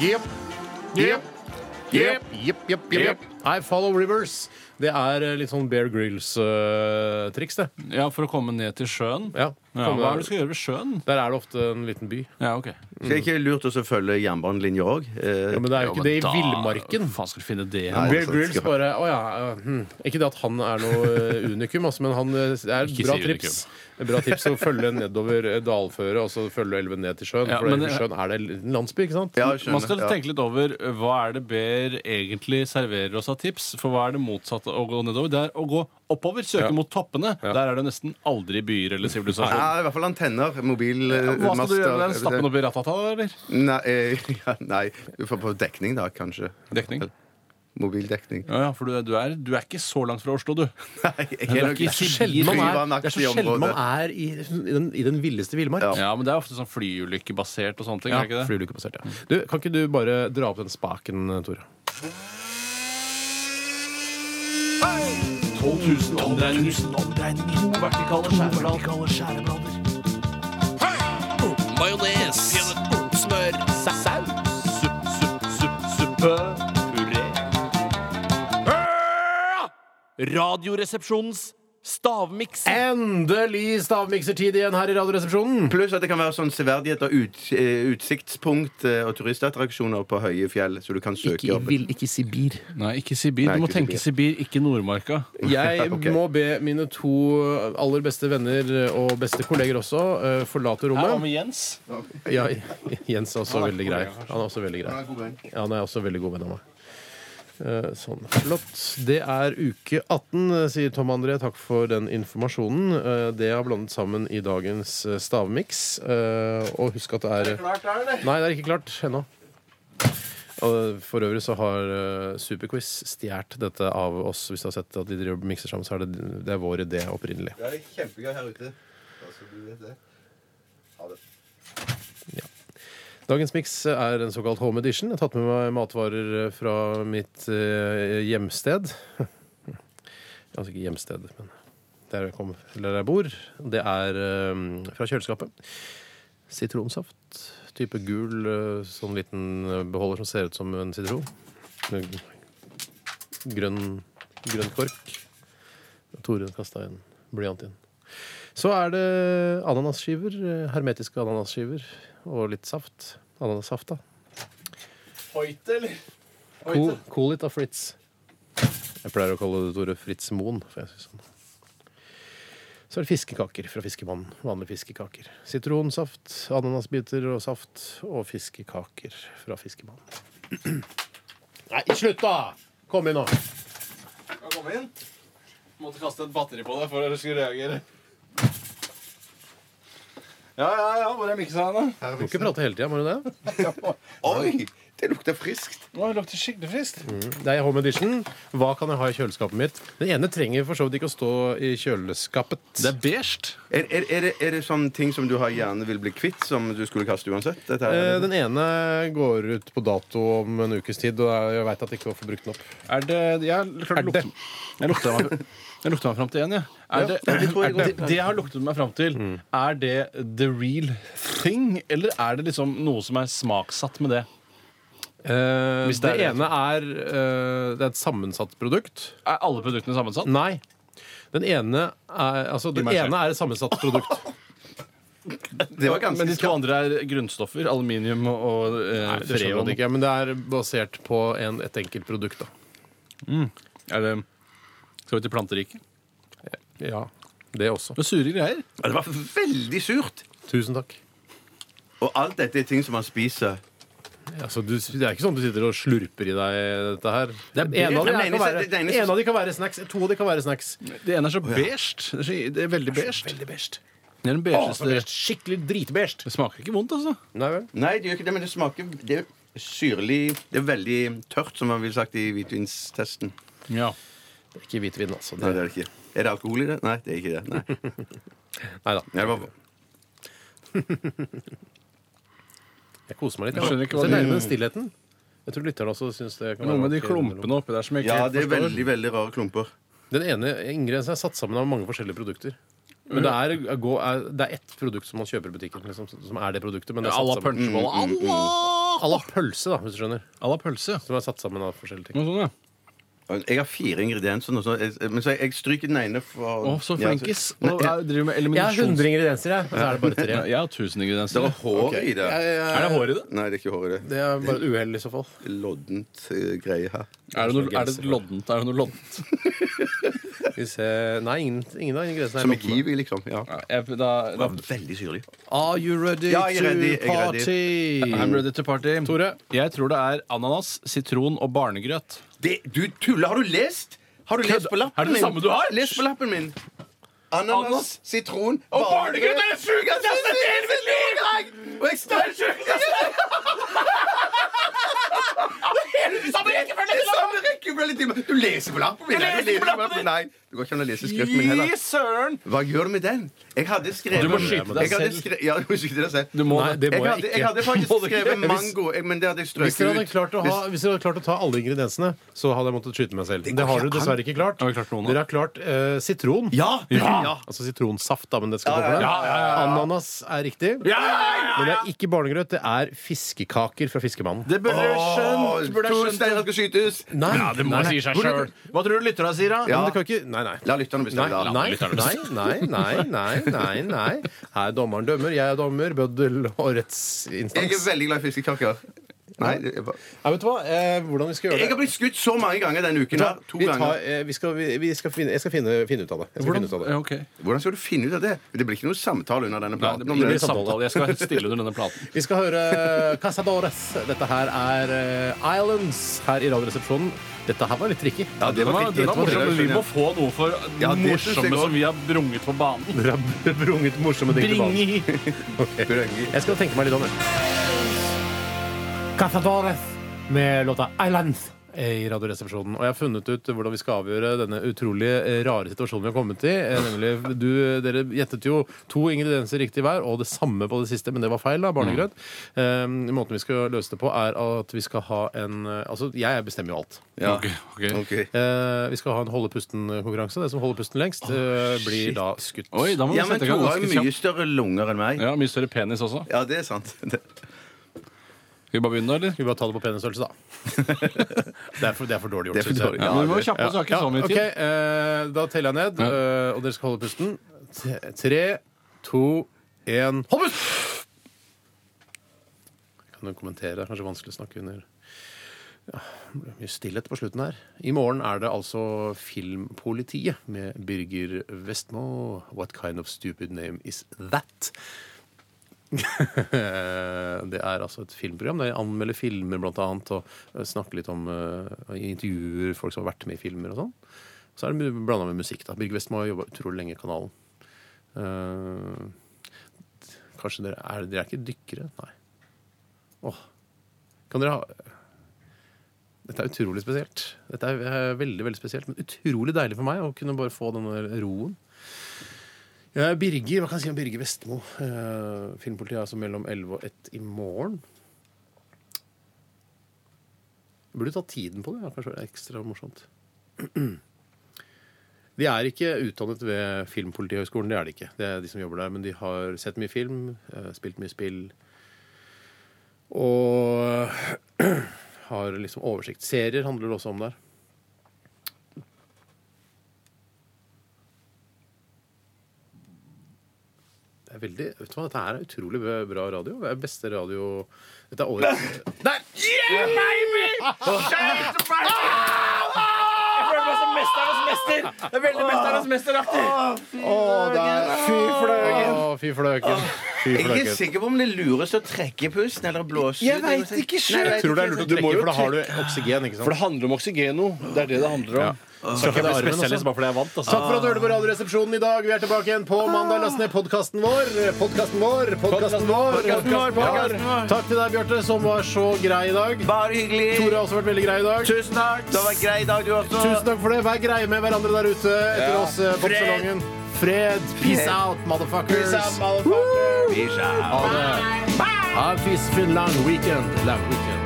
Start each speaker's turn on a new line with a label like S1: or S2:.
S1: Jepp. Jepp. Jepp, jepp, jepp, jepp. I follow rivers. Det er eh, litt sånn Bear Grills-triks, det.
S2: Ja, for å komme ned til sjøen.
S1: Ja,
S2: Ja,
S1: kom der.
S2: hva er det du skal gjøre ved sjøen?
S1: Der er det ofte en liten by.
S2: Ja, ok.
S3: Skal jeg ikke lurt oss å følge jernbanelinja òg?
S1: Mm. Ja, men det er jo
S2: Ja, men
S1: ikke det i
S2: da-
S1: villmarken.
S2: Faen skal du finne det?
S3: Nei.
S1: Bear
S3: altså,
S1: Grylls
S3: skal-
S1: bare Å ja. eh, hm. Ikke det at han er noe eh, unikum, altså, men han eh, er et
S2: Ikke
S1: bra
S2: si unikum.
S1: trips. Et Bra tips å følge nedover eh, dalføret og så følge elven ned til sjøen.
S2: Ja,
S1: for
S2: men
S1: elven
S2: det-
S1: sjøen er det en landsby, ikke sant?
S3: Ja,
S2: Man skal
S3: ja.
S2: tenke litt over eh, hva er det Ber egentlig serverer oss av tips. For hva er det motsatte å gå nedover? Det er å gå oppover,
S1: Ja.
S2: søke mot toppene. Der er det nesten aldri byer eller
S3: Ja,
S2: sivilisasjon.
S3: I hvert fall antenner.
S2: Hva skal du gjøre med den? Stappe den
S3: Mobilmaster.
S2: opp i ratata, eller?
S3: Nei, eh, ja, nei, du får på dekning, da, kanskje.
S2: Dekning?
S3: Mobildekning.
S2: Ja, ja, for du, er- du, er, du er ikke så langt fra Oslo, du.
S3: Nei, jeg
S2: er
S3: er nok
S1: Det
S2: ikke
S1: er så sjelden man er, det er, så sjelden man er i, i, den, i den villeste villmark.
S3: Ja.
S2: Ja, men det er ofte sånn flyulykkebasert og sånne ting.
S1: Ja,
S2: er det ikke det?
S1: flyulykkebasert, ja. Du, kan ikke du bare dra opp den spaken, Tore?
S2: 12 000 omdreininger. To vertikale skjæreblader. Majones. Smør. Saus. Supp, supp, supp, suppe. Puré. Radioresepsjonens stavmiks.
S1: Endelig stavmiksertid igjen her i Radioresepsjonen!
S3: Pluss at det kan være sånn severdighet og ut, eh, utsiktspunkt eh, og turistattraksjoner på høye fjell, så du kan søke opp.
S1: Sibir.
S2: Nei, ikke Sibir.
S3: Nei,
S2: Du må
S3: ikke
S2: tenke Sibir, ikke Nordmarka.
S1: Jeg
S3: Ok.
S1: må be mine to aller beste venner og beste kolleger også eh, forlate
S2: Hva
S1: rommet.
S2: med Jens?
S1: Ja, Jens er også veldig grei. Han er også veldig grei. Ja, han er også veldig god venn av meg. Eh, Sånn, flott. Det er uke 18, eh, sier Tom André. Takk for den informasjonen. Eh, Det har blandet sammen i dagens eh, stavmiks. Eh, Og husk at det er Nei, det er ikke klart ennå. Og For øvrig så har eh, Superquiz stjålet dette av oss. Hvis du har sett at de driver og mikser sammen, så er det, det er vår idé opprinnelig.
S4: Det er kjempegøy her ute. Da skal du vite det. Ha det.
S1: Dagens miks er en såkalt home edition. Jeg har tatt med meg matvarer fra mitt eh, hjemsted. Altså ikke hjemsted, men der jeg kom, eller der jeg bor. Det er eh, fra kjøleskapet. Sitronsaft. Type gul, eh, sånn liten beholder som ser ut som en sitron. Med grønn, grønn kork. Tore kasta en blyant inn. Så er det ananasskiver. eh, Hermetiske ananasskiver. Og litt saft. Ananassaft, da.
S2: Hoite, eller?
S1: Cool, cool it av Fritz. Jeg pleier å kalle det Tore Fritz Moen. For jeg synes han. Så er det fiskekaker fra Fiskemannen. Vanlige fiskekaker. Sitronsaft, ananasbiter og saft. Og fiskekaker fra Fiskemannen. Nei, slutt, da! Kom inn nå.
S2: Kan komme inn. Måtte kaste et batteri på deg for at du skulle reagere. Ja, ja, ja. Hvor er miksa hen, da?
S1: Du må ikke prate hele tida, må du det?
S4: Oi! Det lukter friskt.
S2: Nå lukter skikkelig friskt.
S1: Det er Home Edition. Hva kan jeg ha i kjøleskapet mitt? Den ene trenger for så vidt ikke å stå i kjøleskapet.
S2: Det er beige.
S3: Er, er, er, det, er det sånne ting som du har gjerne vil bli kvitt, som du skulle kaste uansett? Dette
S1: Eh,
S3: her,
S1: Den ene går ut på dato om en ukes tid, og jeg veit at jeg ikke får brukt den opp.
S2: Er det Jeg klarte
S1: Er det?
S2: lukte- Jeg lukta meg, jeg lukta meg fram til en, jeg. Er det, er det, det jeg har luktet meg fram til,
S1: Mm.
S2: er det the real thing? Eller er det liksom noe som er smaksatt med det?
S1: Eh,
S2: Hvis
S1: det,
S2: det er
S1: ene
S2: det.
S1: er eh, Det er et sammensatt produkt.
S2: Er alle produktene sammensatt?
S1: Nei. Den ene er, altså, den
S2: meg selv.
S1: ene er et sammensatt produkt.
S3: det var ganske
S2: Men de to
S3: skarpt.
S2: andre er grunnstoffer. Aluminium og eh,
S1: Nei, det skjønner
S2: freon.
S1: man ikke, men det er basert på en, et enkelt produkt. Da.
S2: Er det Skal vi til planteriket?
S1: Ja, Det også.
S2: Det er sure greier.
S3: Ja, Det var veldig surt!
S1: Tusen takk.
S3: Og alt dette er ting som man spiser.
S1: Altså, du, det er ikke sånn at du sitter og slurper i deg dette her. en, av de
S3: Det
S1: her kan
S3: eneste-
S1: være,
S3: det eneste-
S1: en av de kan være snacks. To av de kan være snacks.
S2: Det ene er så beige. Det er, så, det er veldig beige.
S1: Veldig best.
S2: Det er den beigeste
S1: Skikkelig dritbest.
S2: Det smaker ikke vondt, altså.
S1: Nei vel?
S3: Nei, det gjør ikke det, men det smaker Det er syrlig Det er veldig tørt, som man ville sagt i hvitvinstesten.
S2: Ja.
S1: Ikke hvitvin, altså.
S3: Nei, det er det ikke. Er det alkohol i det? Nei, det er ikke det. Nei.
S1: Neida.
S3: Nei, det var...
S1: Jeg koser meg litt.
S2: Jeg skjønner ikke hva
S1: Så
S2: du-
S1: deilig med den stillheten. Jeg tror lytterne også syns det kan
S2: Noe med de
S1: artig innimellom.
S2: klumpene oppi der som jeg ikke
S3: Ja,
S2: helt
S3: det er
S2: forstår.
S3: veldig, veldig rare klumper.
S1: Den ene ingrediensen er satt sammen av mange forskjellige produkter. Men det er, er gå- er, det er ett produkt som man kjøper i butikken, liksom, som er det produktet. Men det er
S2: Alla mm,
S1: satt sammen.
S2: punchbowl. Allah!
S1: à la pølse, da, hvis du skjønner.
S2: À la pølse, ja.
S1: Som er satt sammen av forskjellige ting.
S2: Noe sånt, ja.
S3: Jeg har fire ingredienser, nå, så jeg, men så jeg, jeg stryker den ene for
S2: Å, så
S3: Ja,
S2: flinkis. Nå er- driver med eliminasjon.
S1: hundre ingredienser, jeg. Og så er det bare
S2: Ja, Jeg har tusen
S3: Det
S2: ingredienser.
S3: er hår i det.
S2: Er det hår i det?
S3: Nei, det er ikke hår i det.
S1: Det er bare et uhell, i så fall.
S3: Loddent eh, greie her.
S2: Er det noe, er det loddent? Er det noe loddent?
S1: Skal vi se Nei, ingen, ingen av ingrediensene
S3: Som i
S1: loddende.
S3: kiwi, liksom. Ja.
S2: Ja, jeg, da,
S3: Det
S2: da,
S3: var veldig syrlig.
S1: Are you ready
S3: Ja, jeg er
S1: to
S3: ready, jeg er ready.
S1: party?
S2: I'm ready to party. Tore? Jeg tror det er ananas, sitron og barnegrøt.
S3: Det, du tuller! Har du lest? Har du lest på lappen
S2: Er det det samme du har?
S3: Les på lappen min. Ananas,
S2: Ananas.
S3: sitron
S2: Og barnegrøt er det sjukeste jeg har sett i hele mitt liv!
S3: Og jeg står Samme rekkefølge til meg. Du leser på lappen min!
S2: Du leser
S3: Nei,
S2: på lappen din.
S3: Nei, det går ikke an å lese skriften min
S2: Gi
S3: heller.
S2: søren!
S3: Hva gjør du med den? Jeg hadde skrevet
S2: Du må skyte deg
S3: Jeg hadde
S2: selv.
S3: skre- Ja, du må skyte deg selv.
S2: Du må
S1: Nei, det
S3: Jeg
S1: må jeg
S3: hadde, jeg hadde
S1: ikke.
S3: faktisk
S2: Må du ikke?
S3: skrevet mango, eh, men det hadde jeg
S1: Hvis
S3: strøket
S1: dere hadde
S3: ut.
S1: klart å, ha,
S3: Hvis-
S1: hvis dere hadde klart å ta alle ingrediensene, så hadde jeg måttet skyte meg selv. Det, har dere dessverre ikke klart.
S2: Har vi klart noen, da?
S1: dere har klart eh, sitron.
S3: Ja!
S2: Ja.
S3: ja.
S1: Altså sitronsaft, da, men det skal gå
S3: Ja,
S1: for
S3: ja,
S1: deg.
S2: ja, ja, ja,
S1: Ananas er riktig.
S2: Ja, ja, ja,
S1: Men det
S2: ja.
S1: er ikke barnegrøt, det er fiskekaker fra Fiskemannen.
S2: Det burde jeg skjønt. Burde
S3: To
S2: jeg skjønt.
S3: steiner skal skytes.
S1: Nei,
S2: Ja, det må
S1: nei, nei.
S2: si seg
S1: Hvor-
S2: sjøl. Hva tror du lytterne sier, da?
S1: Ja.
S3: Ja.
S1: Men det kan ikke Nei, nei.
S3: La lytterne bestemme.
S1: Nei,
S3: da.
S1: nei, nei, nei, nei, nei, nei, nei. Her dommeren dømmer, jeg er dommer, bøddel og
S3: Jeg er
S1: rettsinstans.
S3: veldig glad i fiskekaker. Nei, det er bare-
S1: Ja, vet du hva? Eh, hvordan vi skal gjøre
S3: jeg
S1: det
S3: har blitt skutt så mange ganger denne uken. her To
S1: vi tar,
S3: ganger
S1: eh, vi skal, vi, vi skal finne, jeg skal finne, finne ut av det. Jeg skal finne ut av det.
S2: Ja, ok.
S3: Hvordan skal du finne ut av det? Det blir ikke noe samtale under denne
S2: Nei,
S3: platen.
S2: det
S3: om
S2: blir
S3: det.
S2: ingen samtale. Jeg skal være stille under denne platen.
S1: Vi skal høre eh, Casadores. Dette her er eh, Islands her i Radioresepsjonen. Dette her var litt tricky.
S3: Ja, det
S2: Den
S3: var
S2: var, den
S3: riktig.
S2: var morsom, men vi må
S3: Ja,
S2: få noe for det
S3: Ja, det synes jeg
S2: morsomme
S3: også.
S2: som vi har brunget på banen.
S1: Dere har brunget morsomme ting til banen.
S2: Bringi!
S1: Jeg skal tenke meg litt om det. Casadores med låta Islands i Radioresepsjonen. Og jeg har funnet ut hvordan vi skal avgjøre denne utrolig eh, rare situasjonen vi har kommet i. Eh, Nemlig, du, dere gjettet jo to ingredienser riktig hver, og det samme på det siste, men det var feil, da. Barnegrøt. Eh, måten vi skal løse det på, er at vi skal ha en eh, Altså, jeg bestemmer jo alt.
S3: Ja.
S2: Ok, ok.
S3: Ok.
S1: Eh, vi skal ha en holde pusten-konkurranse. Den som holder pusten lengst, eh, blir da skutt.
S2: Oi, da må vi
S3: Ja, men
S2: sette i
S3: Tore
S2: gang
S3: har
S2: ganske
S3: jo mye
S2: kjapt.
S3: større lunger enn meg.
S2: Ja, Mye større penis også.
S3: Ja, det er sant. Det-
S2: Skal vi bare begynne, da, eller?
S1: Skal vi bare ta det på penisstørrelse, da? det, er for, det er for dårlig gjort.
S3: Det er for
S1: synes jeg.
S3: dårlig.
S2: Ja,
S3: Ja,
S2: men vi må
S3: det-
S2: kjappe oss, vi har ikke så mye
S1: ok,
S2: tid.
S1: eh, da teller jeg ned, eh, og dere skal holde pusten. T- Tre, to, én Hold pust! Kan du kommentere? Det er kanskje vanskelig å snakke under ja, det ble Mye stillhet på slutten her. I morgen er det altså Filmpolitiet med Birger Vestmo. What kind of stupid name is that? Det er altså et filmprogram der jeg anmelder filmer blant annet, og eh, snakker litt om eh, og intervjuer folk som har vært med i filmer og sånn. Så er det blanda med musikk. da Birger Westmo har jobba utrolig lenge i kanalen. Eh, kanskje dere er, dere er ikke dykkere? Nei. Åh. Kan dere ha Dette er utrolig spesielt. Dette er eh, veldig, veldig spesielt, men utrolig deilig for meg å kunne bare få denne roen. Ja, Birger, Hva kan jeg si om Birger Vestmo? Eh, filmpolitiet er altså mellom 11 og 1 i morgen. Jeg burde ta tiden på det. ja, Kanskje det er ekstra morsomt. De er ikke utdannet ved Filmpolitihøgskolen, det er de ikke. Det er de som jobber der, Men de har sett mye film, eh, spilt mye spill og har liksom oversikt. Serier handler det også om der. Det er veldig, vet du hva, Dette her er utrolig bra radio. Det er beste radio Dette er årets Der! Å, fy fløken. Fy
S3: Jeg er ikke
S1: fløken.
S3: sikker på om det er lurest å trekke pusten eller blåse
S2: Jeg vet ikke selv.
S3: Nei, jeg vet
S1: Tror det er
S3: ikke.
S1: lurt å
S2: Du må
S1: trekke,
S2: jo
S1: for da har du oksygen. ikke
S2: For det
S1: sant?
S2: handler om oksygeno. Det er det det handler om.
S1: Takk
S2: Så kan jeg
S1: for
S2: bli
S1: det, Arven,
S2: spesialist
S1: altså.
S2: bare fordi jeg vant. Altså.
S1: Takk for at du hørte på Radioresepsjonen i dag. Vi er tilbake igjen på mandag. Last ned podkasten vår. Podkasten vår, podkasten vår.
S2: Podcasten vår, podcasten
S1: Ja. Takk til deg, Bjarte, som var så grei i dag.
S3: Bare hyggelig.
S1: Tore har også vært veldig grei i dag.
S3: Tusen takk. Det var en grei dag, du også.
S1: Tusen takk for det. Vær greie med hverandre der ute etter
S3: Ja.
S1: oss. eh, Popsalongen. Fred. Peace out, motherfuckers.
S3: Peace out,
S1: Woo!
S3: Peace out.
S1: Ha det. Ha en fisfin lang weekend. Lang weekend.